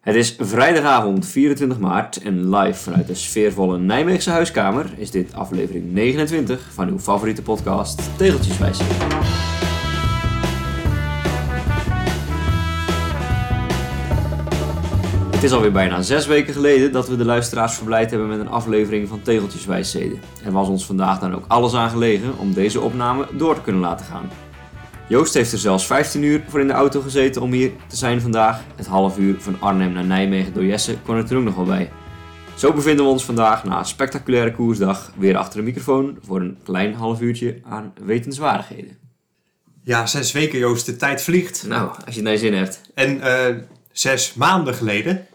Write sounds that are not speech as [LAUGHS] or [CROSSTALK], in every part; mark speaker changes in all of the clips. Speaker 1: Het is vrijdagavond 24 maart en live vanuit de sfeervolle Nijmeegse huiskamer is dit aflevering 29 van uw favoriete podcast Tegeltjeswijze. Het is alweer bijna zes weken geleden dat we de luisteraars verblijd hebben met een aflevering van Tegeltjeswijsheden. En was ons vandaag dan ook alles aan gelegen om deze opname door te kunnen laten gaan. Joost heeft er zelfs 15 uur voor in de auto gezeten om hier te zijn vandaag. Het half uur van Arnhem naar Nijmegen door Jesse kon er toen ook nog wel bij. Zo bevinden we ons vandaag na een spectaculaire koersdag weer achter de microfoon voor een klein half uurtje aan wetenswaardigheden.
Speaker 2: Ja, zes weken Joost, de tijd vliegt.
Speaker 1: Nou, als je het naar je zin hebt.
Speaker 2: En eh, zes maanden geleden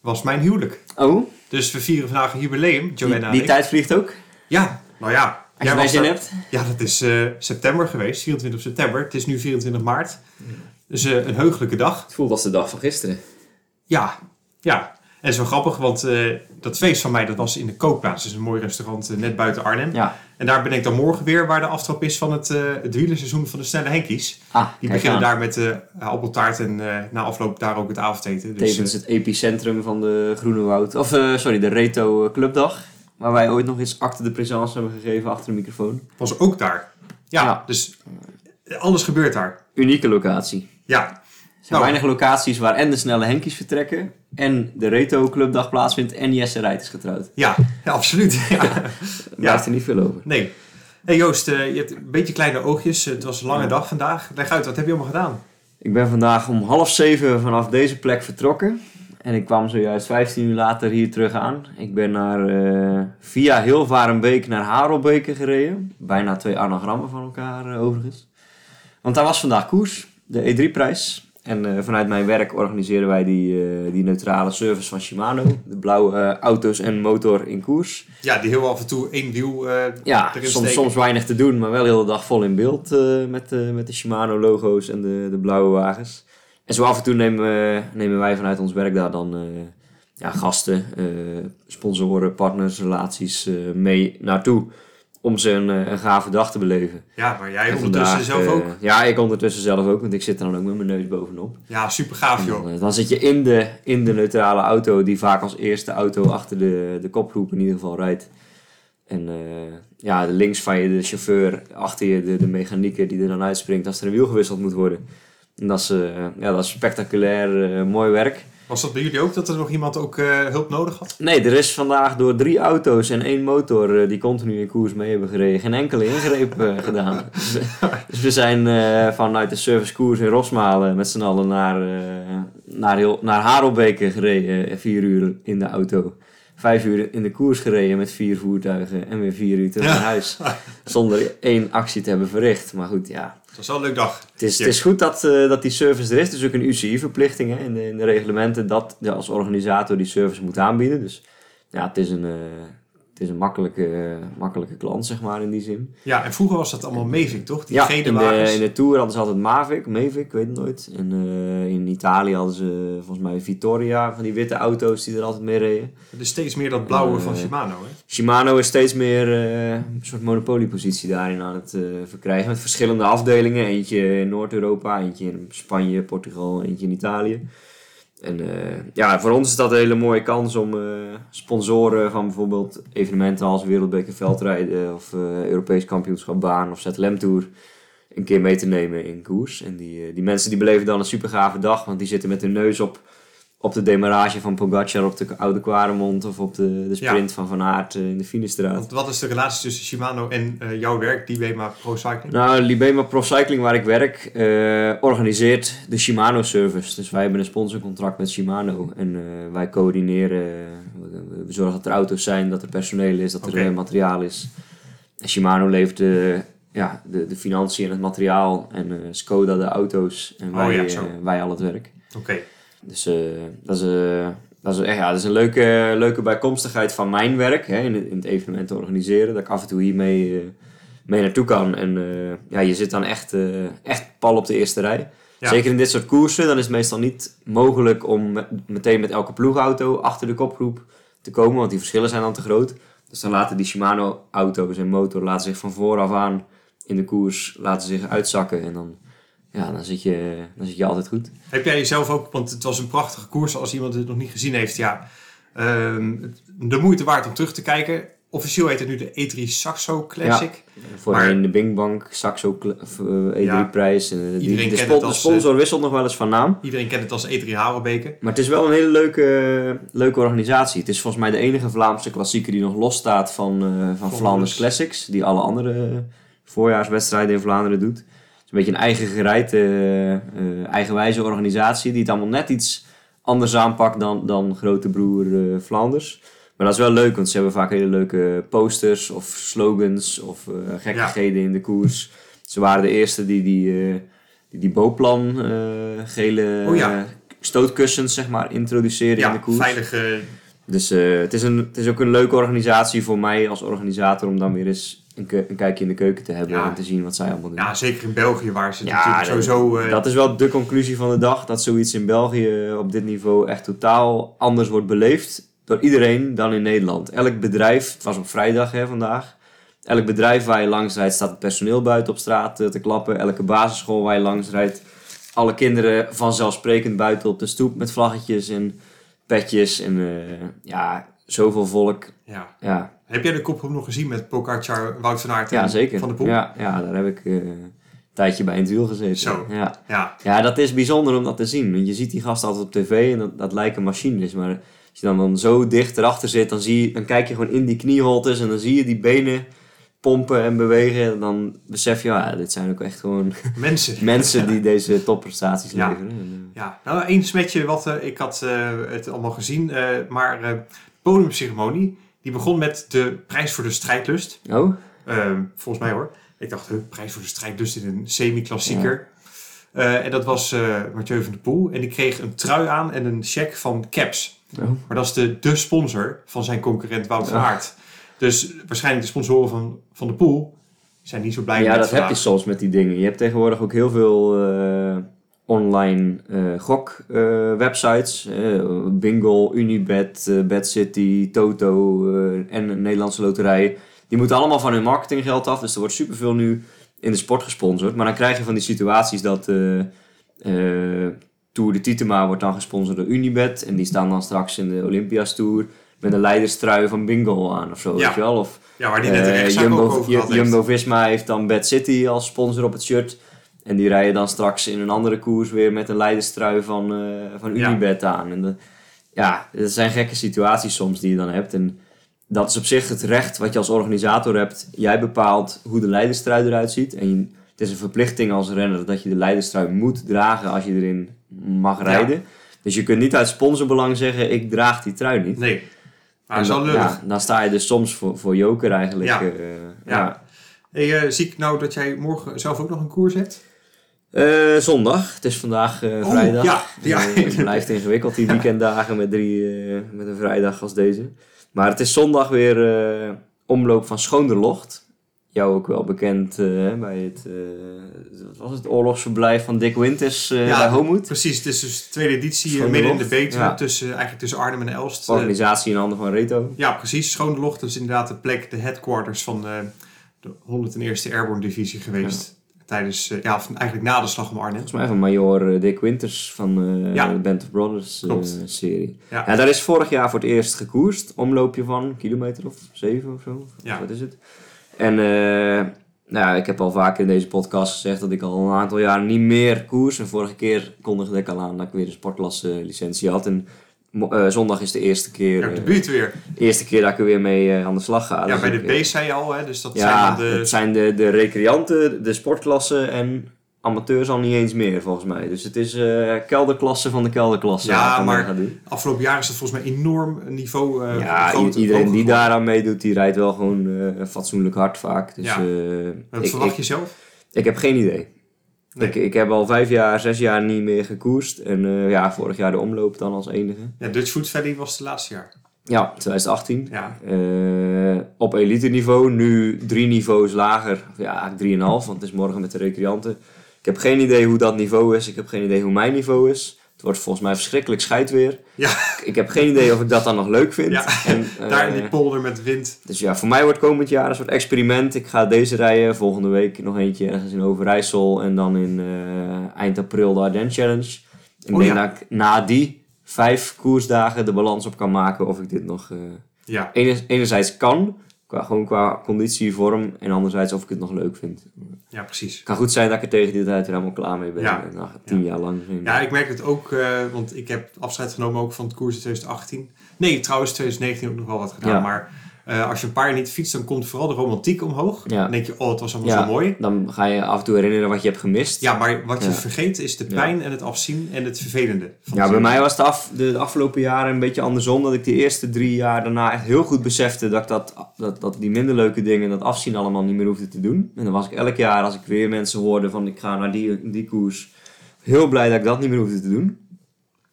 Speaker 2: was mijn huwelijk.
Speaker 1: Oh,
Speaker 2: Dus we vieren vandaag een jubileum, Joanna
Speaker 1: die,
Speaker 2: en
Speaker 1: die
Speaker 2: ik.
Speaker 1: tijd vliegt ook.
Speaker 2: Ja, nou ja.
Speaker 1: Als je het naar je
Speaker 2: was
Speaker 1: zin
Speaker 2: er-
Speaker 1: hebt.
Speaker 2: Ja, dat is eh, september geweest, 24 september. Het is nu 24 maart. Dus eh, een heugelijke dag.
Speaker 1: Het voelt als de dag van gisteren.
Speaker 2: Ja, ja. En zo grappig, want eh, dat feest van mij dat was in de Kookplaats. Dus een mooi restaurant eh, net buiten Arnhem.
Speaker 1: Ja.
Speaker 2: En daar ben ik dan morgen weer, waar de aftrap is van het, eh het wielerseizoen van de Snelle Henkies.
Speaker 1: Ah,
Speaker 2: Die
Speaker 1: kijk
Speaker 2: beginnen
Speaker 1: aan.
Speaker 2: daar met eh appeltaart en eh, na afloop daar ook het avondeten. Dus,
Speaker 1: Tevens het epicentrum van de Groene Woud. Of eh, sorry, de Reto Clubdag. Waar wij ooit nog eens acte de présence hebben gegeven achter de microfoon.
Speaker 2: eh, was ook daar. Ja,
Speaker 1: Ja.
Speaker 2: dus alles gebeurt daar.
Speaker 1: Unieke locatie.
Speaker 2: Ja,
Speaker 1: Er zijn
Speaker 2: Nou.
Speaker 1: weinig locaties waar en de snelle Henkies vertrekken... en de Reto Clubdag plaatsvindt en Jesse Rijt is getrouwd.
Speaker 2: ja, [LAUGHS] ja absoluut. Ja.
Speaker 1: Daar blijft er niet veel over.
Speaker 2: Nee. hey Joost, eh, je hebt een beetje kleine oogjes. Het was een lange dag vandaag. Leg uit, wat heb je allemaal gedaan?
Speaker 1: Ik ben vandaag om half zeven vanaf deze plek vertrokken. En ik kwam zojuist 15 uur later hier terug aan. Ik ben naar, eh, via Hilvarenbeek naar Harelbeke gereden. Bijna twee anagrammen van elkaar eh, overigens. Want daar was vandaag koers, de E3-prijs. En eh, vanuit mijn werk organiseren wij die, eh, die neutrale service van Shimano. De blauwe eh, auto's en motor in koers.
Speaker 2: Ja, die heel af en toe één wiel. eh,
Speaker 1: Ja,
Speaker 2: erin
Speaker 1: soms,
Speaker 2: steken.
Speaker 1: soms weinig te doen, maar wel de hele dag vol in beeld eh, met, eh, met de Shimano-logo's en de, de blauwe wagens. En zo af en toe nemen, we- nemen wij vanuit ons werk daar dan eh, ja, gasten, eh, sponsoren, partners, relaties eh, mee naartoe. Om ze een, eh, een gave dag te beleven.
Speaker 2: ja, maar jij
Speaker 1: En
Speaker 2: ondertussen
Speaker 1: vandaag,
Speaker 2: zelf
Speaker 1: eh,
Speaker 2: ook.
Speaker 1: Ja, ik ondertussen zelf ook, want ik zit er dan ook met mijn neus bovenop.
Speaker 2: Ja, super gaaf joh.
Speaker 1: Dan, eh, dan zit je in de, in de neutrale auto, die vaak als eerste auto achter de, de kopgroep in ieder geval rijdt. En eh, ja, links van je de chauffeur, achter je de, de mechanieker die er dan uitspringt als er een wiel gewisseld moet worden. En dat is, eh, ja, dat is spectaculair, eh, mooi werk.
Speaker 2: Was dat bij jullie ook dat er nog iemand ook eh, hulp nodig had?
Speaker 1: Nee, er is vandaag door drie auto's en één motor eh, die continu in koers mee hebben gereden, geen enkele ingreep eh, gedaan. Dus, dus we zijn eh, vanuit de servicekoers in Rosmalen met z'n allen naar, eh naar, heel, naar Harelbeke gereden, eh, vier uur in de auto. Vijf uur in de koers gereden met vier voertuigen en weer vier uur terug naar
Speaker 2: Ja.
Speaker 1: huis. Zonder één actie te hebben verricht. Maar goed, ja.
Speaker 2: Het was wel een leuk dag.
Speaker 1: Het is, het is goed dat, eh, dat die service er is. Het is ook een UCI-verplichting hè, in, de, in de reglementen dat je als organisator die service moet aanbieden. Dus ja, het is een, eh, het is een makkelijke, eh, makkelijke klant, zeg maar, in die zin.
Speaker 2: Ja, en vroeger was dat allemaal Mavic, toch? Die
Speaker 1: ja,
Speaker 2: gele
Speaker 1: in de,
Speaker 2: wagens.
Speaker 1: in de Tour hadden ze altijd Mavic, Mavic, ik weet het nooit. En eh, in Italië hadden ze eh, volgens mij Vittoria, van die witte auto's die er altijd mee reden.
Speaker 2: Het is steeds meer dat blauwe van
Speaker 1: Eh,
Speaker 2: Shimano, hè?
Speaker 1: Shimano is steeds meer eh, een soort monopoliepositie daarin aan het eh, verkrijgen. Met verschillende afdelingen. Eentje in Noord-Europa, eentje in Spanje, Portugal, eentje in Italië. En eh, ja, voor ons is dat een hele mooie kans om eh, sponsoren van bijvoorbeeld evenementen als Wereldbeker Veldrijden of eh, Europees Kampioenschap Baan of ZLM Tour een keer mee te nemen in koers. En die, eh, die mensen die beleven dan een super gave dag, want die zitten met hun neus op, op de demarage van Pogacar op de Oude Quaremont of op de, de
Speaker 2: Ja.
Speaker 1: sprint van Van Aert eh, in de Finestraat.
Speaker 2: Want wat is de relatie tussen Shimano en eh, jouw werk, die Wema Pro Cycling?
Speaker 1: Nou, Libema Pro Cycling, waar ik werk, eh, organiseert de Shimano service. Dus wij hebben een sponsorcontract met Shimano. En eh, wij coördineren, eh, we zorgen dat er auto's zijn, dat er personeel is, dat er
Speaker 2: Oké.
Speaker 1: eh, materiaal is. En Shimano levert de, ja, de, de financiën en het materiaal. En eh, Skoda de auto's. En
Speaker 2: Oh
Speaker 1: wij,
Speaker 2: ja, zo.
Speaker 1: eh, wij al het werk.
Speaker 2: Oké,
Speaker 1: Dus eh, dat is, eh, dat is, echt, ja, dat is een leuke, leuke bijkomstigheid van mijn werk hè, in, het, in het evenement te organiseren. Dat ik af en toe hiermee eh, mee naartoe kan. En eh, ja, je zit dan echt, eh, echt pal op de eerste rij.
Speaker 2: Ja.
Speaker 1: Zeker in dit soort koersen, dan is het meestal niet mogelijk om met- meteen met elke ploegauto achter de kopgroep te komen, want die verschillen zijn dan te groot. Dus dan laten die Shimano-auto's en motor laten zich van vooraf aan in de koers laten zich uitzakken. En dan ja, dan zit je, dan zit je altijd goed.
Speaker 2: Heb jij jezelf ook, want het was een prachtige koers als iemand het nog niet gezien heeft, ja, ehm, het- de moeite waard om terug te kijken. Officieel heet het nu de E3 Saxo Classic.
Speaker 1: Voorheen de Bing Bank, Saxo Cl- of, eh,
Speaker 2: Ja.
Speaker 1: E3-prijs. en de,
Speaker 2: Iedereen
Speaker 1: de,
Speaker 2: kent
Speaker 1: spon-
Speaker 2: het
Speaker 1: de
Speaker 2: als, eh,
Speaker 1: sponsor wisselt nog wel eens van naam.
Speaker 2: Iedereen kent het als E E3 Harenbeke.
Speaker 1: Maar het is wel een hele leuke, leuke organisatie. Het is volgens mij de enige Vlaamse klassieker die nog los staat van, eh, van Vlaanders Classics. Die alle andere eh, voorjaarswedstrijden in Vlaanderen doet. Het is een beetje een eigen gereid, eh, eh, eigenwijze organisatie. Die het allemaal net iets anders aanpakt dan, dan grote broer eh, Vlaanders. Maar dat is wel leuk, want ze hebben vaak hele leuke posters of slogans of eh, gekkigheden in de koers. Ze waren de eerste die die, eh, die, die Boplan eh, gele
Speaker 2: Oh ja.
Speaker 1: stootkussens zeg maar, introduceren in de
Speaker 2: Ja,
Speaker 1: koers.
Speaker 2: veilige.
Speaker 1: Dus eh, het, is een, het is ook een leuke organisatie voor mij als organisator om dan weer eens een, ke- een kijkje in de keuken te hebben
Speaker 2: Ja.
Speaker 1: en te zien wat zij allemaal doen.
Speaker 2: Ja, zeker in België waar ze
Speaker 1: Ja,
Speaker 2: natuurlijk
Speaker 1: dat-
Speaker 2: sowieso... eh,
Speaker 1: Dat is wel de conclusie van de dag, dat zoiets in België op dit niveau echt totaal anders wordt beleefd door iedereen dan in Nederland. Elk bedrijf, het was op vrijdag hè, vandaag, elk bedrijf waar je langs rijdt staat het personeel buiten op straat eh, te klappen. Elke basisschool waar je langs rijdt, alle kinderen vanzelfsprekend buiten op de stoep met vlaggetjes en petjes en eh, ja, zoveel volk.
Speaker 2: ja.
Speaker 1: Ja,
Speaker 2: Heb jij de kopgroep nog gezien met Pogacar, Wout van Aert en
Speaker 1: ja zeker.
Speaker 2: Van de Poel?
Speaker 1: Ja, ja, daar heb ik eh, een tijdje bij in het wiel gezeten.
Speaker 2: Zo.
Speaker 1: Ja.
Speaker 2: Ja,
Speaker 1: Ja, dat is bijzonder om dat te zien. Want je ziet die gasten altijd op tv en dat, dat lijken machines. Maar als je dan, dan zo dicht erachter zit, dan, zie je, dan kijk je gewoon in die knieholtes en dan zie je die benen pompen en bewegen. En dan besef je, ja, dit zijn ook echt gewoon [LAUGHS]
Speaker 2: mensen.
Speaker 1: mensen die deze topprestaties
Speaker 2: Ja.
Speaker 1: leveren. En,
Speaker 2: Ja, nou, één smetje wat eh, ik had eh, het allemaal gezien, eh, maar eh, de podiumceremonie, die begon met de prijs voor de strijdlust.
Speaker 1: eh, oh,
Speaker 2: Ehm, volgens mij hoor. Ik dacht, huh, prijs voor de strijdlust in een semi-klassieker. Eh, en dat was eh, Mathieu van der Poel. En die kreeg een trui aan en een cheque van Caps.
Speaker 1: Oh.
Speaker 2: Maar dat is de, de sponsor van zijn concurrent Wout van
Speaker 1: Ja.
Speaker 2: Aert. Dus waarschijnlijk de sponsoren van Van der Poel zijn niet zo
Speaker 1: ja,
Speaker 2: blij met
Speaker 1: dat heb
Speaker 2: vandaag.
Speaker 1: je soms met die dingen. Je hebt tegenwoordig ook heel veel eh, online eh, gok-websites. Eh, Bingo, Unibet, eh, Bad City, Toto eh, en de Nederlandse Loterij. Die moeten allemaal van hun marketinggeld af. Dus er wordt superveel nu in de sport gesponsord. Maar dan krijg je van die situaties dat... eh, eh, Tour de Titema wordt dan gesponsord door Unibet. En die staan dan straks in de Olympias Tour met een leiderstrui van Bingo aan of zo.
Speaker 2: Ja.
Speaker 1: Weet je wel? Of
Speaker 2: Ja, waar die net de
Speaker 1: eh,
Speaker 2: rechtszaak ook over gehad heeft.
Speaker 1: Jumbo Visma heeft dan Bad City als sponsor op het shirt. En die rijden dan straks in een andere koers weer met een leiderstrui van, eh, van
Speaker 2: Ja.
Speaker 1: Unibet aan. En de- ja, dat zijn gekke situaties soms die je dan hebt. En dat is op zich het recht wat je als organisator hebt. Jij bepaalt hoe de leiderstrui eruit ziet. En je- het is een verplichting als renner dat je de leiderstrui moet dragen als je erin mag
Speaker 2: Ja.
Speaker 1: rijden. Dus je kunt niet uit sponsorbelang zeggen, ik draag die trui niet.
Speaker 2: Nee. Maar
Speaker 1: En
Speaker 2: dat is wel
Speaker 1: dan-
Speaker 2: lullig.
Speaker 1: ja, dan sta je dus soms voor, voor joker eigenlijk.
Speaker 2: Ja.
Speaker 1: eh,
Speaker 2: Ja. Hey, eh, zie ik nou dat jij morgen zelf ook nog een koers hebt?
Speaker 1: Eh, zondag, het is vandaag eh,
Speaker 2: Oh,
Speaker 1: vrijdag.
Speaker 2: ja, ja.
Speaker 1: Eh, [LAUGHS] het blijft ingewikkeld, die weekenddagen met, drie, eh, met een vrijdag als deze. Maar het is zondag weer eh, omloop van Schoonderlocht. Jou ook wel bekend eh, bij het, eh, wat was het oorlogsverblijf van Dick Winters eh,
Speaker 2: Ja,
Speaker 1: bij Homoed.
Speaker 2: Precies, het is dus de tweede editie eh,
Speaker 1: Schone
Speaker 2: midden in de
Speaker 1: Locht,
Speaker 2: Betuwe,
Speaker 1: ja.
Speaker 2: tussen, eigenlijk tussen Arnhem en Elst. Eh,
Speaker 1: Organisatie in handen van Reto.
Speaker 2: ja, precies. Schone Locht is inderdaad de plek, de headquarters van eh, de 101e Airborne Divisie geweest. Tijdens, eh, ja, van- eigenlijk na de slag om Arnhem.
Speaker 1: Volgens mij van major eh, Dick Winters van eh,
Speaker 2: Ja.
Speaker 1: de Band of Brothers eh,
Speaker 2: Klopt.
Speaker 1: serie.
Speaker 2: Ja.
Speaker 1: Ja. daar is vorig jaar voor het eerst gekoerst. Omloopje van een kilometer of zeven of zo.
Speaker 2: Ja.
Speaker 1: Wat is het? En eh, nou, ja, ik heb al vaker in deze podcast gezegd dat ik al een aantal jaar niet meer koers. En vorige keer kondigde ik al aan dat ik weer een sportklasse licentie had. En mo- eh, zondag is de eerste keer,
Speaker 2: Ja, op de
Speaker 1: eh,
Speaker 2: buurt weer.
Speaker 1: eerste keer dat ik er weer mee eh, aan de slag ga.
Speaker 2: Ja,
Speaker 1: Dus
Speaker 2: bij
Speaker 1: ik, eh,
Speaker 2: de B zei je al, hè, dus dat
Speaker 1: ja,
Speaker 2: zijn dan de...
Speaker 1: het zijn de, de recreanten, de sportklassen en amateurs al niet eens meer volgens mij. Dus het is eh, kelderklasse van de kelderklasse.
Speaker 2: Ja,
Speaker 1: wat ik dan
Speaker 2: maar
Speaker 1: ga doen.
Speaker 2: Afgelopen jaar is dat volgens mij enorm niveau eh
Speaker 1: ja, i-
Speaker 2: groter,
Speaker 1: iedereen die
Speaker 2: hoger
Speaker 1: daaraan meedoet, die rijdt wel gewoon eh, fatsoenlijk hard vaak. Dus
Speaker 2: Ja.
Speaker 1: eh,
Speaker 2: geworden. Dat
Speaker 1: ik,
Speaker 2: verwacht
Speaker 1: ik,
Speaker 2: je zelf?
Speaker 1: ik heb geen idee.
Speaker 2: Nee.
Speaker 1: Ik, ik heb al vijf jaar, zes jaar niet meer gekoerst. En eh, ja, vorig jaar de omloop dan als enige.
Speaker 2: Ja, Dutch Food Valley was het laatste jaar.
Speaker 1: Ja, 2018.
Speaker 2: Ja, [LAUGHS]
Speaker 1: Eh, op elite niveau, nu drie niveaus lager. Ja, eigenlijk drieënhalf, want het is morgen met de recreanten. Ik heb geen idee hoe dat niveau is. Ik heb geen idee hoe mijn niveau is. Het wordt volgens mij verschrikkelijk scheidweer.
Speaker 2: Ja.
Speaker 1: Ik- Ik heb geen idee of ik dat dan nog leuk vind.
Speaker 2: Ja,
Speaker 1: [LAUGHS] En,
Speaker 2: [LAUGHS] Daar in
Speaker 1: eh,
Speaker 2: die polder met wind.
Speaker 1: Dus ja, voor mij wordt komend jaar een soort experiment. Ik ga deze rijden, volgende week nog eentje ergens in Overijssel en dan in eh, eind april de Ardennen Challenge. En
Speaker 2: Oh
Speaker 1: ik denk
Speaker 2: ja.
Speaker 1: dat ik na die vijf koersdagen de balans op kan maken of ik dit nog eh,
Speaker 2: Ja,
Speaker 1: ener- enerzijds kan, qua, gewoon qua conditie, vorm, en anderzijds of ik het nog leuk vind.
Speaker 2: ja, precies.
Speaker 1: Het kan goed zijn dat ik er tegen die tijd er helemaal klaar mee ben.
Speaker 2: Ja.
Speaker 1: En dan tien jaar lang. geen-
Speaker 2: Ja, ik merk het ook, eh, want ik heb afscheid genomen ook van het koers in 2018. Nee, trouwens 2019 ook nog wel wat gedaan.
Speaker 1: Ja.
Speaker 2: Maar eh, als je een paar jaar niet fietst, dan komt vooral de romantiek omhoog.
Speaker 1: Ja.
Speaker 2: Dan denk je, oh, het was allemaal
Speaker 1: Ja.
Speaker 2: zo mooi.
Speaker 1: Dan ga je af en toe herinneren wat je hebt gemist.
Speaker 2: Ja, maar wat je
Speaker 1: Ja.
Speaker 2: vergeet is de
Speaker 1: Ja.
Speaker 2: pijn en het afzien en het vervelende. van
Speaker 1: Ja,
Speaker 2: het
Speaker 1: bij
Speaker 2: leven.
Speaker 1: mij was het af, de afgelopen jaren een beetje andersom. Dat ik de eerste drie jaar daarna echt heel goed besefte dat, ik dat, dat, dat die minder leuke dingen, dat afzien allemaal niet meer hoefde te doen. En dan was ik elk jaar, als ik weer mensen hoorde van ik ga naar die, die koers, heel blij dat ik dat niet meer hoefde te doen.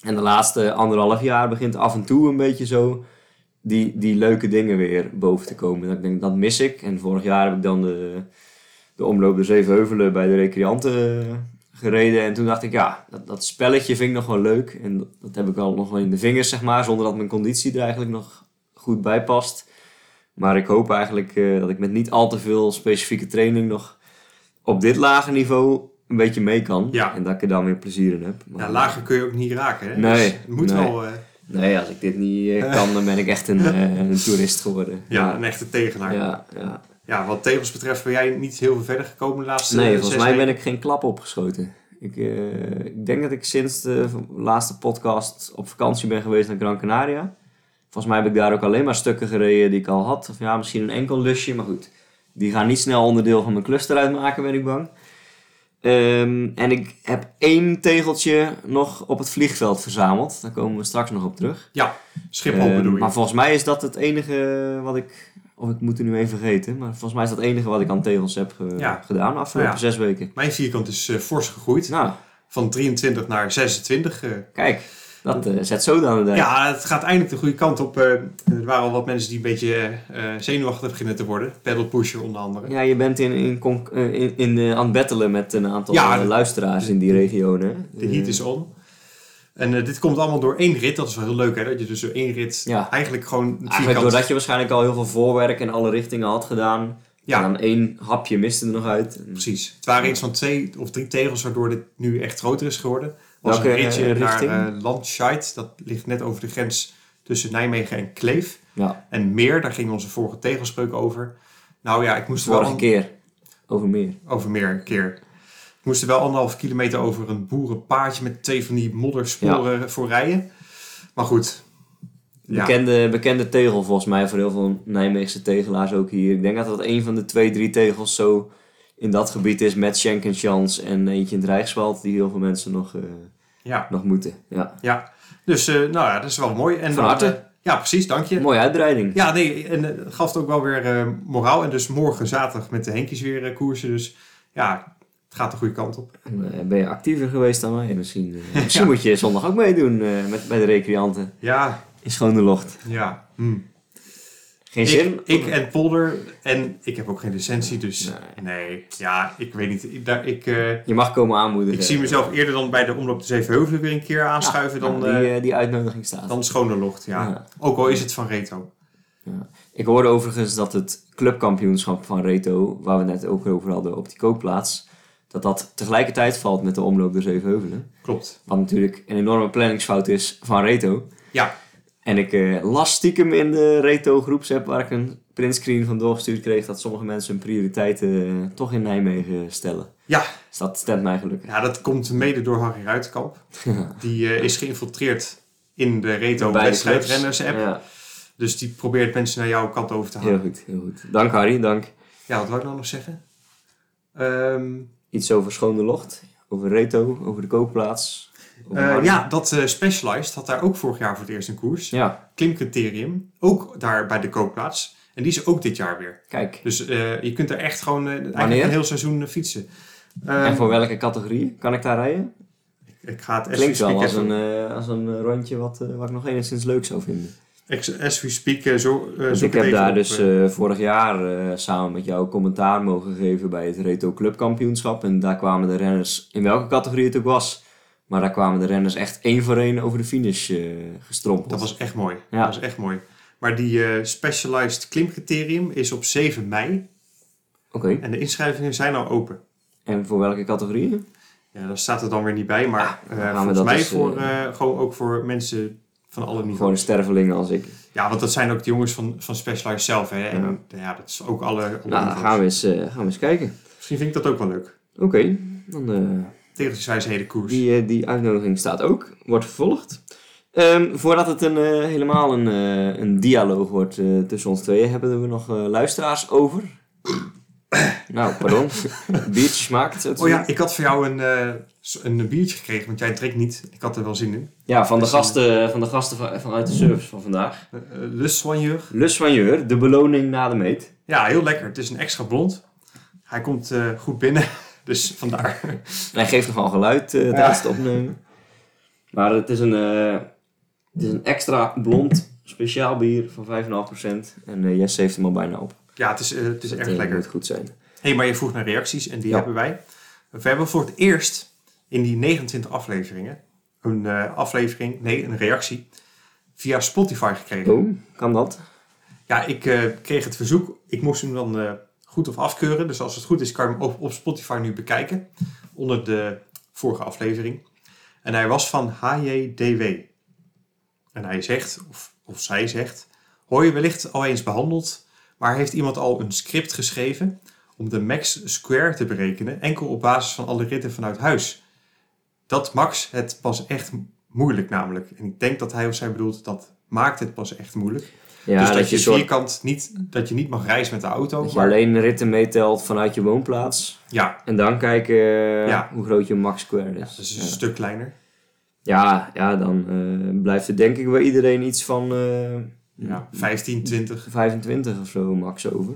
Speaker 1: En de laatste anderhalf jaar begint af en toe een beetje zo die, die leuke dingen weer boven te komen. Dat ik denk, dat mis ik. En vorig jaar heb ik dan de, de omloop de Zevenheuvelen bij de recreanten eh, gereden. En toen dacht ik, ja, dat, dat spelletje vind ik nog wel leuk. En dat, dat heb ik al nog wel in de vingers, zeg maar. Zonder dat mijn conditie er eigenlijk nog goed bij past. Maar ik hoop eigenlijk eh, dat ik met niet al te veel specifieke training nog op dit lage niveau een beetje mee kan.
Speaker 2: Ja.
Speaker 1: En dat ik er dan weer plezier in heb.
Speaker 2: Ja,
Speaker 1: Maar-
Speaker 2: lager kun je ook niet raken. Hè?
Speaker 1: Nee,
Speaker 2: Dus het moet
Speaker 1: nee.
Speaker 2: wel eh,
Speaker 1: Nee, als ik dit niet eh, kan, dan ben ik echt een, eh, een toerist geworden.
Speaker 2: ja, een echte tegenaar. Ja.
Speaker 1: ja, ja.
Speaker 2: wat tegels betreft ben jij niet heel veel verder gekomen de laatste
Speaker 1: Nee,
Speaker 2: eh,
Speaker 1: volgens
Speaker 2: zes
Speaker 1: mij ben
Speaker 2: weken.
Speaker 1: ik geen klap opgeschoten. Ik, eh, ik denk dat ik sinds de v- laatste podcast op vakantie ben geweest naar Gran Canaria. Volgens mij heb ik daar ook alleen maar stukken gereden die ik al had. Of ja, misschien een enkel lusje, maar goed. Die gaan niet snel onderdeel van mijn cluster uitmaken, ben ik bang. Ehm, en ik heb één tegeltje nog op het vliegveld verzameld. Daar komen we straks nog op terug.
Speaker 2: Ja, Schiphol
Speaker 1: Ehm,
Speaker 2: bedoel je.
Speaker 1: Maar volgens mij is dat het enige wat ik. Of ik moet het nu even vergeten. Maar volgens mij is dat het enige wat ik aan tegels heb ge-
Speaker 2: Ja.
Speaker 1: gedaan afgelopen
Speaker 2: Ja.
Speaker 1: zes weken.
Speaker 2: Mijn vierkant is eh, fors gegroeid.
Speaker 1: Nou,
Speaker 2: Van 23 naar 26. eh,
Speaker 1: kijk. Dat eh, zet zo dan de
Speaker 2: Ja, het gaat eindelijk de goede kant op. Eh, er waren al wat mensen die een beetje eh, zenuwachtig beginnen te worden. Pedal pusher onder andere.
Speaker 1: Ja, je bent in, in, conc- eh, in, in, eh, aan het bettelen met een aantal
Speaker 2: Ja,
Speaker 1: eh,
Speaker 2: de-
Speaker 1: luisteraars in die Eh, regio. Hè?
Speaker 2: De heat is on. En eh, dit komt allemaal door één rit. Dat is wel heel leuk hè. Dat je dus door één rit
Speaker 1: Ja.
Speaker 2: eigenlijk gewoon het
Speaker 1: Eigenlijk
Speaker 2: vierkant...
Speaker 1: doordat je waarschijnlijk al heel veel voorwerk in alle richtingen had gedaan. En
Speaker 2: Ja,
Speaker 1: dan één hapje miste er nog uit.
Speaker 2: precies. Het waren iets van twee of drie tegels waardoor dit nu echt groter is geworden. Was
Speaker 1: Welke,
Speaker 2: een ritje
Speaker 1: eh,
Speaker 2: naar
Speaker 1: richting?
Speaker 2: eh Landscheid. Dat ligt net over de grens tussen Nijmegen en Kleef.
Speaker 1: Ja,
Speaker 2: En Meer, daar ging onze vorige tegelspreuk over. Nou ja, ik moest er wel...
Speaker 1: vorige keer. Over meer.
Speaker 2: over meer een keer. Ik moest er wel anderhalf kilometer over een boerenpaadje met twee van die moddersporen voor rijden. Maar goed. Ja,
Speaker 1: Bekende, bekende tegel volgens mij voor heel veel Nijmeegse tegelaars ook hier. Ik denk dat dat een van de twee, drie tegels zo in dat gebied is met Schenk en Chans en eentje in het Rijkswald die heel veel mensen nog, eh,
Speaker 2: ja,
Speaker 1: nog moeten. Ja.
Speaker 2: ja. Dus eh, nou ja, dat is wel mooi. En
Speaker 1: Van
Speaker 2: dan,
Speaker 1: harte.
Speaker 2: eh, ja, precies, dank je.
Speaker 1: Mooie uitbreiding.
Speaker 2: Ja, nee, en eh, het gaf het ook wel weer eh, moraal. En dus morgen zaterdag met de Henkies weer eh, koersen. Dus ja, het gaat de goede kant op.
Speaker 1: Eh, Ben je actiever geweest dan wij? Misschien, eh, misschien moet je zondag ook meedoen eh, met, bij de recreanten.
Speaker 2: Ja,
Speaker 1: In schone locht.
Speaker 2: ja. hm.
Speaker 1: Geen zin?
Speaker 2: Ik, ik en Polder. En ik heb ook geen licentie, dus nee. Ja, ik weet niet. Ik, daar, ik, eh,
Speaker 1: Je mag komen aanmoedigen.
Speaker 2: Ik zie mezelf eerder dan bij de omloop de Zevenheuvelen weer een keer aanschuiven
Speaker 1: Ja,
Speaker 2: dan,
Speaker 1: die,
Speaker 2: eh
Speaker 1: eh, die uitnodiging staat.
Speaker 2: dan Schonelocht. Ja.
Speaker 1: Ja.
Speaker 2: Ook al is het van Reto.
Speaker 1: Ik hoorde overigens dat het clubkampioenschap van Reto, waar we net ook over hadden op die kookplaats, dat dat tegelijkertijd valt met de omloop door Zevenheuvelen.
Speaker 2: Klopt.
Speaker 1: Wat natuurlijk een enorme planningsfout is van Reto.
Speaker 2: Ja.
Speaker 1: En ik eh, las stiekem in de Reto groepsapp waar ik een printscreen van doorgestuurd kreeg dat sommige mensen hun prioriteiten eh, toch in Nijmegen stellen.
Speaker 2: Ja.
Speaker 1: Dus dat stemt mij gelukkig.
Speaker 2: ja, dat komt mede door Harry
Speaker 1: [LAUGHS]
Speaker 2: Ruitenkamp. Die eh, is geïnfiltreerd in de Reto
Speaker 1: Beide
Speaker 2: wedstrijdrenners app.
Speaker 1: clubs. Ja,
Speaker 2: Dus die probeert mensen naar jouw kant over te halen.
Speaker 1: heel
Speaker 2: Ja,
Speaker 1: goed, heel goed. Dank Harry, dank.
Speaker 2: wat wou ik nou nog zeggen? Ehm,
Speaker 1: Iets over Schone Locht, over Reto, over de kookplaats. over
Speaker 2: eh,
Speaker 1: Harry.
Speaker 2: ja, dat eh, Specialized had daar ook vorig jaar voor het eerst een koers.
Speaker 1: Ja,
Speaker 2: Klimcriterium, ook daar bij de koopplaats. En die is ook dit jaar weer.
Speaker 1: kijk.
Speaker 2: Dus eh, je kunt er echt gewoon eh, eigenlijk
Speaker 1: Wanneer?
Speaker 2: een heel seizoen eh, fietsen.
Speaker 1: En
Speaker 2: Ehm,
Speaker 1: voor welke categorie kan ik daar rijden?
Speaker 2: Ik ga het as we
Speaker 1: Klinkt wel
Speaker 2: speak
Speaker 1: als
Speaker 2: even...
Speaker 1: een, eh, als een eh, rondje wat, eh, wat ik nog enigszins leuk zou vinden.
Speaker 2: ex- As we speak, eh, zo, eh,
Speaker 1: Want
Speaker 2: zoek
Speaker 1: ik heb
Speaker 2: even
Speaker 1: daar
Speaker 2: op,
Speaker 1: dus
Speaker 2: eh.
Speaker 1: eh, vorig jaar eh, samen met jou commentaar mogen geven bij het Reto Club Kampioenschap. En daar kwamen de renners, in welke categorie het ook was, Maar daar kwamen de renners echt één voor één over de finish eh, gestrompeld.
Speaker 2: Dat was echt mooi.
Speaker 1: Ja.
Speaker 2: Dat was echt mooi. Maar die eh, Specialized klimcriterium is op 7 mei.
Speaker 1: Oké,
Speaker 2: En de inschrijvingen zijn al open.
Speaker 1: en voor welke categorieën?
Speaker 2: Ja, daar staat er dan weer niet bij. Maar eh,
Speaker 1: Ah, gaan we
Speaker 2: volgens
Speaker 1: dat
Speaker 2: mij
Speaker 1: eens,
Speaker 2: voor, eh, gewoon ook voor mensen van alle niveaus.
Speaker 1: Gewoon een sterveling als ik.
Speaker 2: Ja, want dat zijn ook de jongens van, van Specialized zelf. Hè? En ja. dat is ook alle... alle
Speaker 1: Nou, dan
Speaker 2: niveaus.
Speaker 1: gaan we eens, eh, gaan we eens kijken.
Speaker 2: Misschien vind ik dat ook wel leuk.
Speaker 1: Oké, dan... eh,
Speaker 2: Tegenswijsheden koers.
Speaker 1: Die, eh, die uitnodiging staat ook, wordt vervolgd. Ehm, voordat het een, eh, helemaal een, eh, een dialoog wordt eh, tussen ons tweeën, hebben we nog eh, luisteraars over. nou,
Speaker 2: [LAUGHS]
Speaker 1: pardon. Beach smaakt. zo te
Speaker 2: Oh ja,
Speaker 1: zien.
Speaker 2: ik had voor jou een, eh, s- een biertje gekregen, want jij drinkt niet. Ik had er wel zin in.
Speaker 1: Ja, van de
Speaker 2: Dus, eh,
Speaker 1: gasten, van de gasten van, vanuit de service van vandaag.
Speaker 2: Eh, eh, Le Soigneur.
Speaker 1: Le Soigneur, de beloning na de meet.
Speaker 2: Ja, heel lekker. Het is een extra blond. Hij komt eh, goed binnen, [LAUGHS] dus vandaar.
Speaker 1: Hij geeft nogal geluid eh, tijdens het opnemen. Maar het is een, eh, het is een extra blond speciaal bier van 5,5%. En eh Jesse heeft hem al bijna op.
Speaker 2: Ja, het is, eh, het is
Speaker 1: Dat,
Speaker 2: erg
Speaker 1: eh,
Speaker 2: lekker.
Speaker 1: moet goed zijn.
Speaker 2: hey, maar je vroeg naar reacties en die
Speaker 1: Ja.
Speaker 2: hebben wij. We hebben voor het eerst in die 29 afleveringen een eh, aflevering, nee, een reactie via Spotify gekregen.
Speaker 1: Oh, kan dat?
Speaker 2: Ja, ik eh, kreeg het verzoek. Ik moest hem dan eh, goed of afkeuren. Dus als het goed is, kan je hem op, op Spotify nu bekijken. Onder de vorige aflevering. En hij was van HJDW. En hij zegt, of, of zij zegt... Hoor je wellicht al eens behandeld... maar heeft iemand al een script geschreven... om de max square te berekenen... enkel op basis van alle ritten vanuit huis? Dat max het pas echt moeilijk namelijk. En ik denk dat hij of zij bedoelt... dat maakt het pas echt moeilijk
Speaker 1: Ja,
Speaker 2: dus dat, je,
Speaker 1: je, soort,
Speaker 2: vierkant niet, dat je niet mag reizen met de auto.
Speaker 1: dat je
Speaker 2: maar-
Speaker 1: alleen ritten meetelt vanuit je woonplaats.
Speaker 2: ja,
Speaker 1: En dan kijken eh,
Speaker 2: Ja.
Speaker 1: hoe groot je max square
Speaker 2: dat is
Speaker 1: is.
Speaker 2: een
Speaker 1: Ja,
Speaker 2: stuk kleiner.
Speaker 1: ja, ja, dan eh, blijft er denk ik bij iedereen iets van eh,
Speaker 2: Ja, 15, 20.
Speaker 1: 25 of zo max over.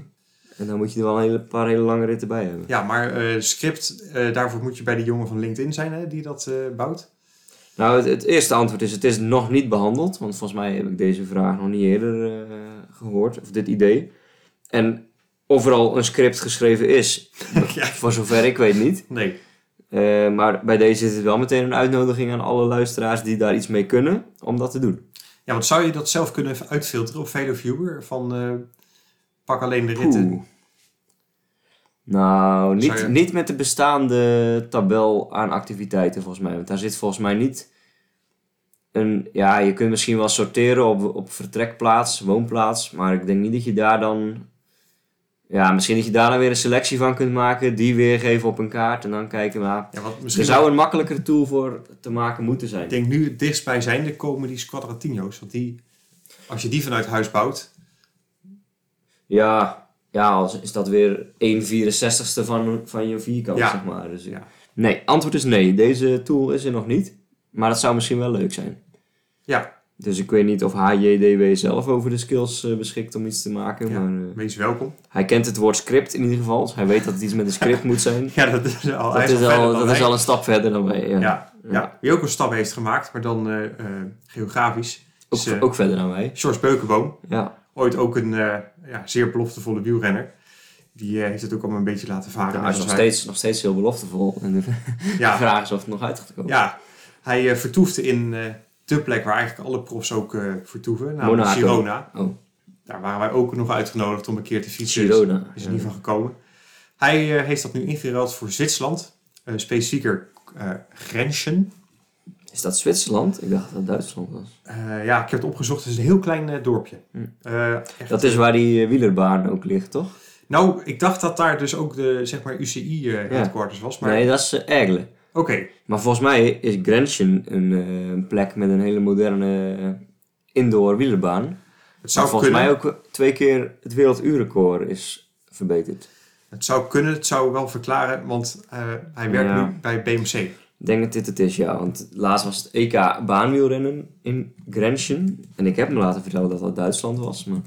Speaker 1: En dan moet je er wel een hele, paar hele lange ritten bij hebben.
Speaker 2: Ja, maar eh, script, eh, daarvoor moet je bij de jongen van LinkedIn zijn hè, die dat eh, bouwt.
Speaker 1: Nou, het, het eerste antwoord is: het is nog niet behandeld. Want volgens mij heb ik deze vraag nog niet eerder eh, gehoord, of dit idee. En of er al een script geschreven is,
Speaker 2: [LAUGHS] ja,
Speaker 1: voor zover ik weet niet.
Speaker 2: nee.
Speaker 1: Eh, maar bij deze is het wel meteen een uitnodiging aan alle luisteraars die daar iets mee kunnen om dat te doen.
Speaker 2: Ja, want zou je dat zelf kunnen uitfilteren op VeloViewer? Van eh, pak alleen de ritten.
Speaker 1: Oeh. Nou, niet,
Speaker 2: Zou je-
Speaker 1: niet met de bestaande tabel aan activiteiten volgens mij. Want daar zit volgens mij niet een... Ja, je kunt misschien wel sorteren op, op vertrekplaats, woonplaats. Maar ik denk niet dat je daar dan... Ja, misschien dat je daar dan weer een selectie van kunt maken. Die weergeven op een kaart en dan kijken. Maar
Speaker 2: Ja, want
Speaker 1: er
Speaker 2: misschien
Speaker 1: zou een makkelijkere tool voor te maken moeten zijn.
Speaker 2: Ik denk nu het dichtstbijzijnde komen die Squadratino's. Want die, als je die vanuit huis bouwt.
Speaker 1: Ja, ja als is dat weer 1 64ste van, van je vierkant,
Speaker 2: Ja.
Speaker 1: zeg maar. Dus,
Speaker 2: Ja.
Speaker 1: Nee, antwoord is nee. Deze tool is er nog niet. Maar dat zou misschien wel leuk zijn.
Speaker 2: Ja,
Speaker 1: Dus ik weet niet of HJDW zelf over de skills eh, beschikt om iets te maken.
Speaker 2: ja.
Speaker 1: Maar eh,
Speaker 2: wees welkom. [LAUGHS]
Speaker 1: hij kent het woord script in ieder geval. Dus hij weet dat het iets met een script moet zijn.
Speaker 2: Ja, dat is al, [LAUGHS] hij
Speaker 1: Dat is,
Speaker 2: verder
Speaker 1: al,
Speaker 2: dan
Speaker 1: dat
Speaker 2: wij.
Speaker 1: is al een stap verder dan wij. Ja.
Speaker 2: Ja, ja. Wie ook een stap heeft gemaakt, maar dan eh, eh, geografisch.
Speaker 1: Ook,
Speaker 2: Is, eh,
Speaker 1: ook verder dan wij.
Speaker 2: George Beukenboom,
Speaker 1: Ja.
Speaker 2: ooit ook een eh, ja, zeer beloftevolle wielrenner. Die eh, heeft het ook allemaal een beetje laten varen.
Speaker 1: Nou, hij
Speaker 2: net
Speaker 1: is nog
Speaker 2: als wij.
Speaker 1: steeds, nog steeds heel beloftevol. [LAUGHS] En de
Speaker 2: Ja,
Speaker 1: vraag is of het nog uit gaat komen.
Speaker 2: ja. hij eh, vertoefde in eh, de plek waar eigenlijk alle profs ook eh, vertoeven. Namelijk
Speaker 1: Monaco.
Speaker 2: Girona.
Speaker 1: Oh,
Speaker 2: Daar waren wij ook nog uitgenodigd om een keer te fietsen. Dus
Speaker 1: Girona.
Speaker 2: Is er niet van gekomen. Hij eh, heeft dat nu ingeruild voor Zwitserland. eh, specifieker eh Grenchen.
Speaker 1: Is dat Zwitserland? Ik dacht dat het Duitsland was.
Speaker 2: Eh, ja, ik heb het opgezocht. Het is een heel klein eh, dorpje.
Speaker 1: Hm.
Speaker 2: Eh, echt
Speaker 1: Dat is waar die eh, wielerbaan ook ligt, toch?
Speaker 2: Nou, ik dacht dat daar dus ook de zeg maar UCI-headquarters eh, was. Maar
Speaker 1: Nee, dat is eh, Ergle.
Speaker 2: oké,
Speaker 1: Maar volgens mij is Grenchen een eh, een plek met een hele moderne eh, indoor wielerbaan.
Speaker 2: het
Speaker 1: Maar
Speaker 2: zou
Speaker 1: volgens
Speaker 2: kunnen.
Speaker 1: mij ook eh, twee keer het werelduurrecord is verbeterd.
Speaker 2: Het zou kunnen, het zou wel verklaren, want eh, hij werkt
Speaker 1: Ja.
Speaker 2: nu bij BMC.
Speaker 1: Ik denk dat dit het is, ja. Want laatst was het EK baanwielrennen in Grenchen. En ik heb me laten vertellen dat dat Duitsland was. Maar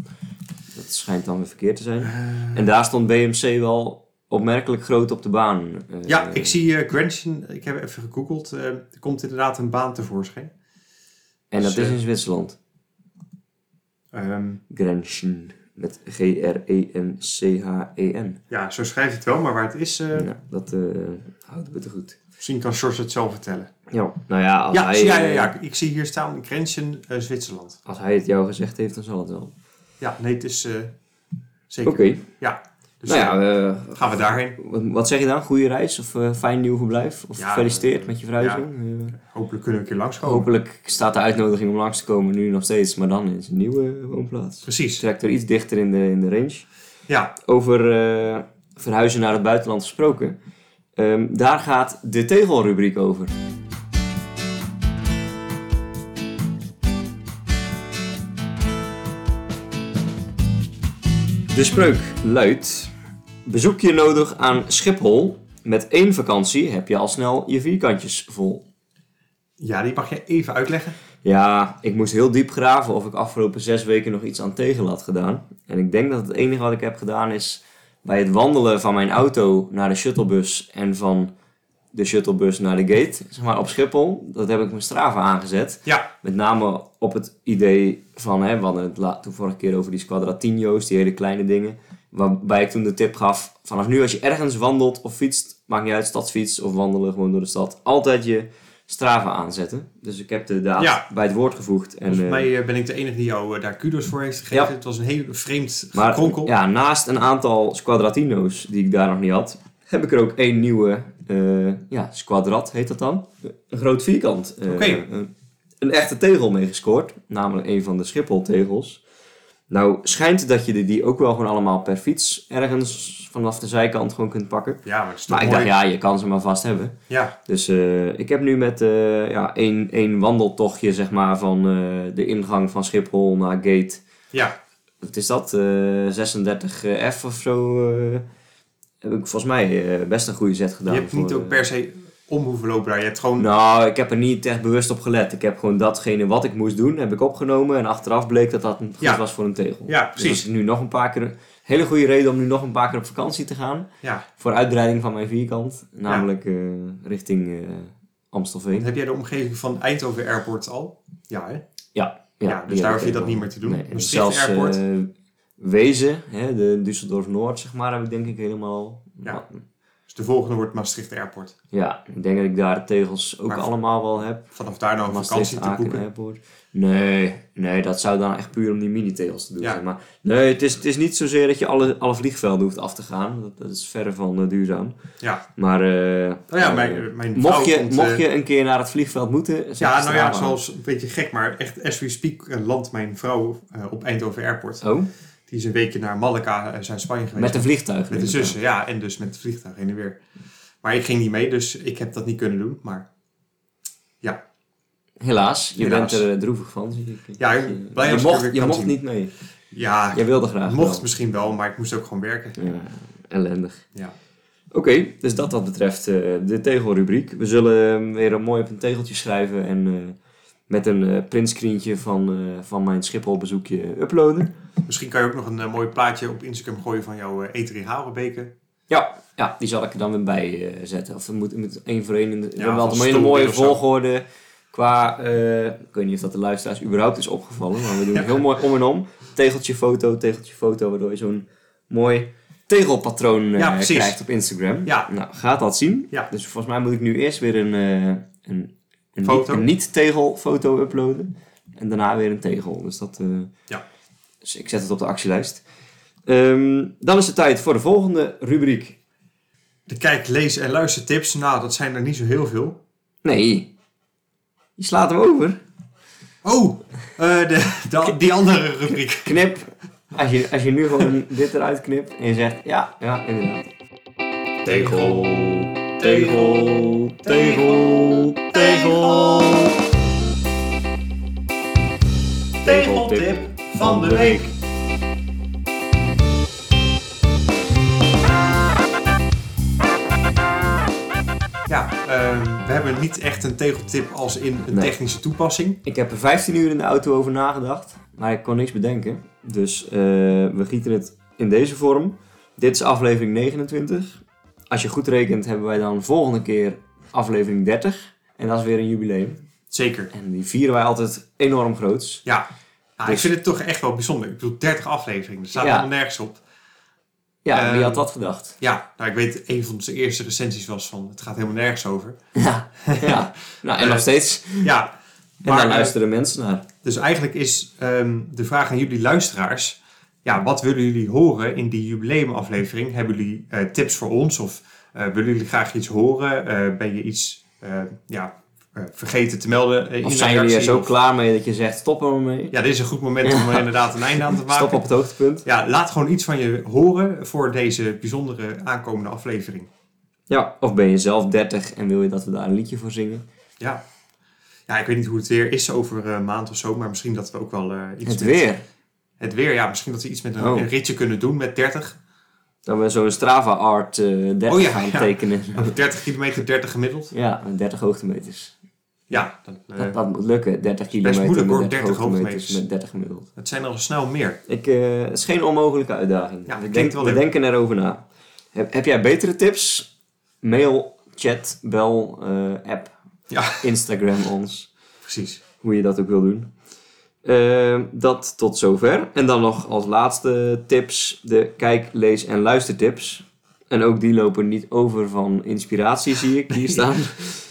Speaker 1: dat schijnt dan weer verkeerd te zijn.
Speaker 2: Eh.
Speaker 1: En daar stond BMC wel opmerkelijk groot op de baan. eh,
Speaker 2: Ja, ik zie eh Grenchen, ik heb even gegoogeld, eh, er komt inderdaad een baan tevoorschijn.
Speaker 1: En dat
Speaker 2: Dus,
Speaker 1: is
Speaker 2: eh,
Speaker 1: in Zwitserland.
Speaker 2: Ehm,
Speaker 1: Grenchen. Met E G-R-E-N-C-H-E-N.
Speaker 2: Ja, zo schrijft het wel, maar waar het is, eh,
Speaker 1: E Ja, dat eh, houdt het goed.
Speaker 2: misschien kan Sjors het zelf vertellen.
Speaker 1: Ja, nou ja, als,
Speaker 2: Ja,
Speaker 1: hij,
Speaker 2: ja, ja,
Speaker 1: eh,
Speaker 2: ja, ik zie hier staan Grenzen, eh, Zwitserland.
Speaker 1: als hij het jou gezegd heeft, dan zal het wel.
Speaker 2: Ja, nee, het is eh,
Speaker 1: Oké,
Speaker 2: zeker. Ja, dus
Speaker 1: nou ja, eh,
Speaker 2: gaan we daarheen.
Speaker 1: wat, wat zeg je dan? Goede reis of eh, fijn nieuw verblijf? Of
Speaker 2: Ja,
Speaker 1: gefeliciteerd
Speaker 2: eh, Oh.
Speaker 1: met je verhuizing? Eh,
Speaker 2: Hopelijk kunnen we een keer langskomen.
Speaker 1: hopelijk staat de uitnodiging om langs te komen nu nog steeds, maar dan in zijn nieuwe woonplaats.
Speaker 2: Precies.
Speaker 1: Trekt er iets dichter in de, in de range.
Speaker 2: Ja,
Speaker 1: Over eh, verhuizen naar het buitenland gesproken. Ehm, daar gaat de tegelrubriek over. De spreuk luidt: Bezoekje nodig aan Schiphol. Met één vakantie heb je al snel je vierkantjes vol.
Speaker 2: ja, die mag je even uitleggen.
Speaker 1: Ja, ik moest heel diep graven of ik afgelopen zes weken nog iets aan tegel had gedaan. En ik denk dat het enige wat ik heb gedaan is bij het wandelen van mijn auto naar de shuttlebus en van de shuttlebus naar de gate, zeg maar op Schiphol, dat heb ik mijn Strava aangezet.
Speaker 2: Ja,
Speaker 1: Met name op het idee van, hè, we hadden het la- toen vorige keer over die squadratino's, die hele kleine dingen. Waarbij ik toen de tip gaf, vanaf nu als je ergens wandelt of fietst, maakt niet uit, stadsfiets of wandelen gewoon door de stad, altijd je Strava aanzetten. Dus ik heb de daad
Speaker 2: Ja.
Speaker 1: bij het woord gevoegd. En,
Speaker 2: volgens
Speaker 1: eh,
Speaker 2: mij eh, ben ik de enige die jou eh, daar kudos voor heeft gegeven. Het was een heel vreemd
Speaker 1: maar eh,
Speaker 2: gekronkel.
Speaker 1: ja, naast een aantal squadratino's die ik daar nog niet had, heb ik er ook één nieuwe, eh, ja, squadrat heet dat dan. Een groot vierkant. eh,
Speaker 2: Oké.
Speaker 1: een, een echte tegel mee gescoord, namelijk een van de Schiphol-tegels. Nou, schijnt dat je die- die ook wel gewoon allemaal per fiets ergens vanaf de zijkant gewoon kunt pakken.
Speaker 2: Ja, maar het is toch
Speaker 1: Maar ik
Speaker 2: mooi.
Speaker 1: dacht, ja, je kan ze maar vast hebben.
Speaker 2: ja.
Speaker 1: Dus eh, ik heb nu met eh, ja, één, één wandeltochtje, zeg maar, van eh, de ingang van Schiphol naar Gate
Speaker 2: ja,
Speaker 1: wat is dat? eh 36F of zo. eh, heb ik volgens mij eh, best een goede set
Speaker 2: je
Speaker 1: gedaan.
Speaker 2: hebt niet
Speaker 1: voor,
Speaker 2: ook per se om hoeven lopen daar. Je hebt gewoon...
Speaker 1: eh, Nou, ik heb er niet echt bewust op gelet. Ik heb gewoon datgene wat ik moest doen, heb ik opgenomen. En achteraf bleek dat dat goed
Speaker 2: Ja.
Speaker 1: was voor een tegel.
Speaker 2: Ja,
Speaker 1: Dus
Speaker 2: precies.
Speaker 1: als ik nu nog een paar keer... Hele goede reden om nu nog een paar keer op vakantie te gaan.
Speaker 2: Ja.
Speaker 1: Voor uitbreiding van mijn vierkant. Namelijk eh, richting eh, Amstelveen.
Speaker 2: Heb jij de omgeving van Eindhoven Airport al? Ja, hè? Ja,
Speaker 1: die
Speaker 2: dus
Speaker 1: heb ik
Speaker 2: daar hoef je dat
Speaker 1: helemaal.
Speaker 2: niet meer te doen.
Speaker 1: Nee, en
Speaker 2: Maastricht
Speaker 1: zelfs
Speaker 2: Airport.
Speaker 1: eh, Wezen, hè, de Düsseldorf Noord, zeg maar, heb ik denk ik helemaal.
Speaker 2: Ja. Dus de volgende wordt Maastricht Airport.
Speaker 1: Ja, ik denk dat ik daar de tegels ook
Speaker 2: Maar-
Speaker 1: allemaal wel heb.
Speaker 2: Vanaf daar dan een vakantie te
Speaker 1: Aken
Speaker 2: boeken.
Speaker 1: Airport. Nee, nee, dat zou dan echt puur om die mini-tegels te doen.
Speaker 2: Ja.
Speaker 1: Zeg maar. Nee, het is, het is niet zozeer dat je alle, alle vliegvelden hoeft af te gaan. Dat, dat is verre van eh, duurzaam.
Speaker 2: Ja.
Speaker 1: Maar, eh,
Speaker 2: Nou ja,
Speaker 1: eh,
Speaker 2: mijn, mijn vrouw
Speaker 1: mocht, je,
Speaker 2: komt, eh,
Speaker 1: mocht je een keer naar het vliegveld moeten... zet
Speaker 2: Ja,
Speaker 1: je
Speaker 2: nou
Speaker 1: Strava
Speaker 2: ja,
Speaker 1: aan.
Speaker 2: zoals een beetje gek, maar echt as we speak eh, landt mijn vrouw eh, op Eindhoven Airport.
Speaker 1: Oh,
Speaker 2: Die is een weekje naar Malaga, eh, Zuid-Spanje geweest.
Speaker 1: met een vliegtuig.
Speaker 2: Met de
Speaker 1: neem ik aan.
Speaker 2: zussen, ja. En dus met het vliegtuig heen en weer. Maar ik ging niet mee, dus ik heb dat niet kunnen doen. Maar
Speaker 1: Helaas, je
Speaker 2: Helaas.
Speaker 1: bent er eh, droevig van, zie ik.
Speaker 2: Ja, ik
Speaker 1: je,
Speaker 2: ben blij als ik er
Speaker 1: mocht,
Speaker 2: weer
Speaker 1: je
Speaker 2: kan
Speaker 1: mocht
Speaker 2: zien.
Speaker 1: niet mee.
Speaker 2: ja,
Speaker 1: Je wilde graag
Speaker 2: mocht
Speaker 1: wel.
Speaker 2: misschien wel, maar ik moest ook gewoon werken.
Speaker 1: Ja, ellendig.
Speaker 2: Ja.
Speaker 1: Oké, dus dat wat betreft eh, de tegelrubriek. We zullen hem weer mooi op een tegeltje schrijven en eh, met een eh printscreentje van, eh, van mijn Schiphol-bezoekje uploaden.
Speaker 2: Misschien kan je ook nog een eh, mooi plaatje op Instagram gooien van jouw eh E3 Harenbeke.
Speaker 1: Ja, ja, die zal ik er dan weer bij eh, zetten. Of het moet, het moet één voor één. In de, we hebben
Speaker 2: van
Speaker 1: wel een hele
Speaker 2: stoel
Speaker 1: mooie
Speaker 2: of zo.
Speaker 1: volgorde qua... eh, ik weet niet of dat de luisteraars überhaupt is opgevallen, maar we
Speaker 2: [LAUGHS]
Speaker 1: doen het heel mooi om en om. Tegeltje foto, tegeltje foto, waardoor je zo'n mooi tegelpatroon eh,
Speaker 2: Ja, precies.
Speaker 1: krijgt op Instagram.
Speaker 2: Ja.
Speaker 1: Nou, gaat dat zien.
Speaker 2: Ja.
Speaker 1: Dus volgens mij moet ik nu eerst weer een, eh, een, een,
Speaker 2: Foto.
Speaker 1: Niet, een niet-tegelfoto uploaden. En daarna weer een tegel. Dus dat... eh,
Speaker 2: Ja.
Speaker 1: Dus ik zet het op de actielijst. Ehm, dan is het tijd voor de volgende rubriek.
Speaker 2: De kijk, lees en luister tips. Nou, dat zijn er niet zo heel veel.
Speaker 1: Nee. Je slaat hem over.
Speaker 2: Oh, eh, de, de- die andere rubriek.
Speaker 1: Knip. Als je, als je nu gewoon [LAUGHS] dit eruit knipt en je zegt ja, ja, inderdaad.
Speaker 2: Tegel,
Speaker 1: tegel, tegel, tegel.
Speaker 2: Tegeltip van de week. Ja, ehm, we hebben niet echt een tegeltip als in een
Speaker 1: Nee.
Speaker 2: technische toepassing.
Speaker 1: Ik heb er 15 uur in de auto over nagedacht, maar ik kon niks bedenken. Dus eh, we gieten het in deze vorm. Dit is aflevering 29. Als je goed rekent hebben wij dan volgende keer aflevering 30. En dat is weer een jubileum.
Speaker 2: Zeker.
Speaker 1: En die vieren wij altijd enorm groots.
Speaker 2: Ja, Nou, ik
Speaker 1: Dus-
Speaker 2: vind het toch echt wel bijzonder. Ik bedoel, 30 afleveringen. Er staat
Speaker 1: Ja.
Speaker 2: helemaal nergens op.
Speaker 1: Ja,
Speaker 2: Ehm,
Speaker 1: wie had dat gedacht? [LAUGHS]
Speaker 2: Ja, nou, ik weet, een van onze eerste recensies was van... Het gaat helemaal nergens over. [LAUGHS]
Speaker 1: Ja, ja. Nou, en nog
Speaker 2: Eh,
Speaker 1: steeds.
Speaker 2: Ja,
Speaker 1: En
Speaker 2: maar,
Speaker 1: daar
Speaker 2: eh,
Speaker 1: luisteren mensen naar.
Speaker 2: dus eigenlijk is ehm, de vraag aan jullie luisteraars... Ja, wat willen jullie horen in die jubileumaflevering? Hebben jullie eh, tips voor ons? Of eh, willen jullie graag iets horen? Eh, ben je iets eh, ja, eh, vergeten te melden eh, in
Speaker 1: Of
Speaker 2: de
Speaker 1: zijn jullie er
Speaker 2: reactie?
Speaker 1: zo
Speaker 2: Of-
Speaker 1: klaar mee dat je zegt, stop er maar mee.
Speaker 2: Ja, dit is een goed moment om er inderdaad een einde aan te maken.
Speaker 1: [LAUGHS] Stop op het hoogtepunt.
Speaker 2: Ja, laat gewoon iets van je horen voor deze bijzondere aankomende aflevering.
Speaker 1: Ja, of ben je zelf 30 en wil je dat we daar een liedje voor zingen?
Speaker 2: Ja. Ja, ik weet niet hoe het weer is over eh, een maand of zo, maar misschien dat we ook wel eh, iets
Speaker 1: Het
Speaker 2: met...
Speaker 1: weer.
Speaker 2: Het weer, ja. Misschien dat we iets met een,
Speaker 1: Oh.
Speaker 2: een ritje kunnen doen met 30.
Speaker 1: Dat we zo'n Strava Art eh 30
Speaker 2: Oh ja,
Speaker 1: gaan
Speaker 2: ja.
Speaker 1: tekenen.
Speaker 2: Of 30 kilometer, 30 gemiddeld.
Speaker 1: Ja, 30 hoogtemeters.
Speaker 2: Ja, dan, eh,
Speaker 1: Dat, dat moet lukken, 30 kilometer
Speaker 2: moeilijk, hoor,
Speaker 1: met 30
Speaker 2: 30
Speaker 1: hoogtemeters
Speaker 2: hoogtemeters.
Speaker 1: met 30 gemiddeld.
Speaker 2: het zijn er al snel meer.
Speaker 1: Ik, eh, het is geen onmogelijke uitdaging.
Speaker 2: Ja,
Speaker 1: We
Speaker 2: klinkt
Speaker 1: denk-
Speaker 2: wel
Speaker 1: we
Speaker 2: leuk.
Speaker 1: denken erover na. Heb, heb jij betere tips? Mail, chat, bel, eh, app,
Speaker 2: Ja. [LAUGHS]
Speaker 1: Instagram ons.
Speaker 2: Precies.
Speaker 1: Hoe je dat ook wil doen. Eh, dat tot zover. En dan nog als laatste tips de kijk, lees en luistertips. En ook die lopen niet over van inspiratie, zie ik
Speaker 2: [LAUGHS]
Speaker 1: hier staan.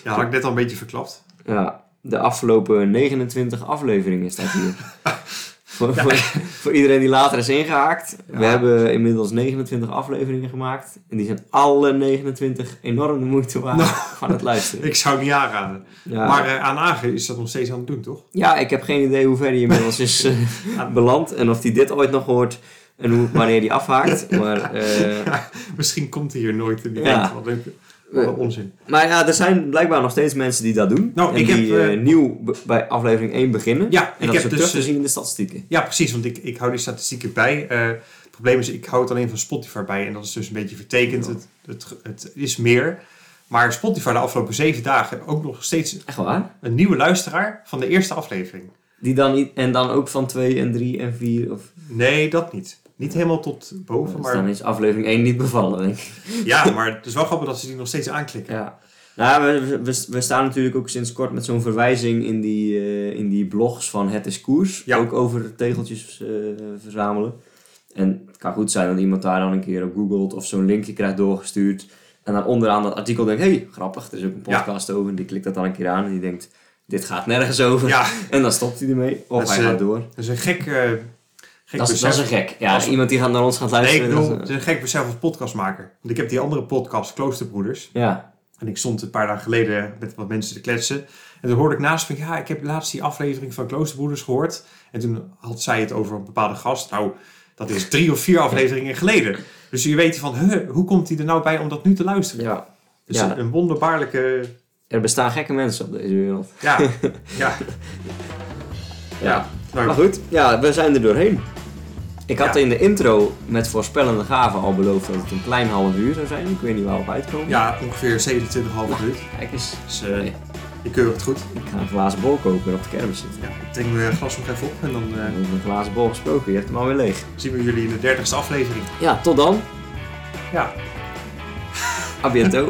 Speaker 2: Ja, had ik net al een beetje verklapt.
Speaker 1: Ja, de afgelopen 29 afleveringen staat
Speaker 2: [LAUGHS]
Speaker 1: hier. voor, voor, voor iedereen die later is ingehaakt. We
Speaker 2: Ja.
Speaker 1: hebben inmiddels 29 afleveringen gemaakt. En die zijn alle 29 enorm de moeite waard
Speaker 2: [LAUGHS]
Speaker 1: van het luisteren.
Speaker 2: Ik zou het niet aanraden.
Speaker 1: Ja.
Speaker 2: Maar eh, aan Agen is dat nog steeds aan het doen, toch?
Speaker 1: ja, ik heb geen idee hoe ver hij inmiddels is eh,
Speaker 2: [LAUGHS]
Speaker 1: beland. En of hij dit ooit nog hoort. En hoe, wanneer die afhaakt. Maar, eh,
Speaker 2: [LAUGHS] Misschien komt hij hier nooit en die
Speaker 1: Ja.
Speaker 2: denkt, wat een- wat een onzin.
Speaker 1: maar ja, er zijn blijkbaar nog steeds mensen die dat doen.
Speaker 2: Nou,
Speaker 1: en
Speaker 2: ik heb,
Speaker 1: die
Speaker 2: eh,
Speaker 1: eh, nieuw be- bij aflevering 1 beginnen.
Speaker 2: Ja, ik
Speaker 1: en dat is
Speaker 2: heb
Speaker 1: ook
Speaker 2: dus,
Speaker 1: terug te
Speaker 2: eh,
Speaker 1: zien in de statistieken.
Speaker 2: Ja, precies, want ik, ik hou die statistieken bij. Eh, het probleem is, ik hou het alleen van Spotify bij en dat is dus een beetje vertekend.
Speaker 1: Ja.
Speaker 2: Het, het, het is meer. Maar Spotify de afgelopen zeven dagen ook nog steeds
Speaker 1: Echt waar?
Speaker 2: een nieuwe luisteraar van de eerste aflevering.
Speaker 1: Die dan niet, en dan ook van 2 en 3 en 4 of...
Speaker 2: Nee, dat niet. Niet helemaal tot boven,
Speaker 1: Dus dan
Speaker 2: maar
Speaker 1: is aflevering 1 niet bevallen, denk ik.
Speaker 2: ja, maar het is wel grappig dat ze die nog steeds aanklikken.
Speaker 1: Ja. Nou, we, we, we staan natuurlijk ook sinds kort met zo'n verwijzing in die, eh, in die blogs van Het is Koers.
Speaker 2: Ja.
Speaker 1: Ook over tegeltjes eh, verzamelen. En het kan goed zijn dat iemand daar dan een keer op googelt of zo'n linkje krijgt doorgestuurd. En dan onderaan dat artikel denkt, hé, hey, grappig, er is ook een
Speaker 2: Ja.
Speaker 1: podcast over. En die klikt dat dan een keer aan en die denkt, dit gaat nergens over.
Speaker 2: Ja,
Speaker 1: En dan stopt hij ermee. Of
Speaker 2: Dat is,
Speaker 1: hij
Speaker 2: eh,
Speaker 1: gaat door.
Speaker 2: dat is een gek, eh gek
Speaker 1: Dat is, dat
Speaker 2: besef.
Speaker 1: is een gek. Ja,
Speaker 2: Als-
Speaker 1: iemand die gaat naar ons gaat
Speaker 2: Nee,
Speaker 1: luisteren.
Speaker 2: ik
Speaker 1: dat is, eh,
Speaker 2: bedoel, het is een gek besef als podcastmaker. Want ik heb die andere podcast, Kloosterbroeders.
Speaker 1: ja.
Speaker 2: En ik stond een paar dagen geleden met wat mensen te kletsen. En toen hoorde ik naast me, ja, ik heb laatst die aflevering van Kloosterbroeders gehoord. En toen had zij het over een bepaalde gast. Nou, dat is drie of vier afleveringen geleden. Dus je weet van, huh, hoe komt hij er nou bij om dat nu te luisteren?
Speaker 1: Ja,
Speaker 2: Dus
Speaker 1: Ja.
Speaker 2: een- een wonderbaarlijke...
Speaker 1: er bestaan gekke mensen op deze wereld. [LAUGHS]
Speaker 2: Ja, ja. ja.
Speaker 1: Maar
Speaker 2: Nou,
Speaker 1: goed, ja, we zijn er doorheen. Ik had
Speaker 2: Ja.
Speaker 1: in de intro met voorspellende gaven al beloofd dat het een klein half uur zou zijn. Ik weet niet waar we op uitkomen.
Speaker 2: ja, ongeveer 27,5 minuut.
Speaker 1: Kijk eens,
Speaker 2: Dus eh, je keurt het goed.
Speaker 1: ik ga een glazen bol kopen op de kermis zitten.
Speaker 2: Ja, ik drink mijn glas nog even op en dan eh,
Speaker 1: Over een glazen bol gesproken, je hebt hem alweer leeg.
Speaker 2: zien we jullie in de dertigste aflevering.
Speaker 1: Ja, tot dan.
Speaker 2: Ja. [LAUGHS]
Speaker 1: A biento.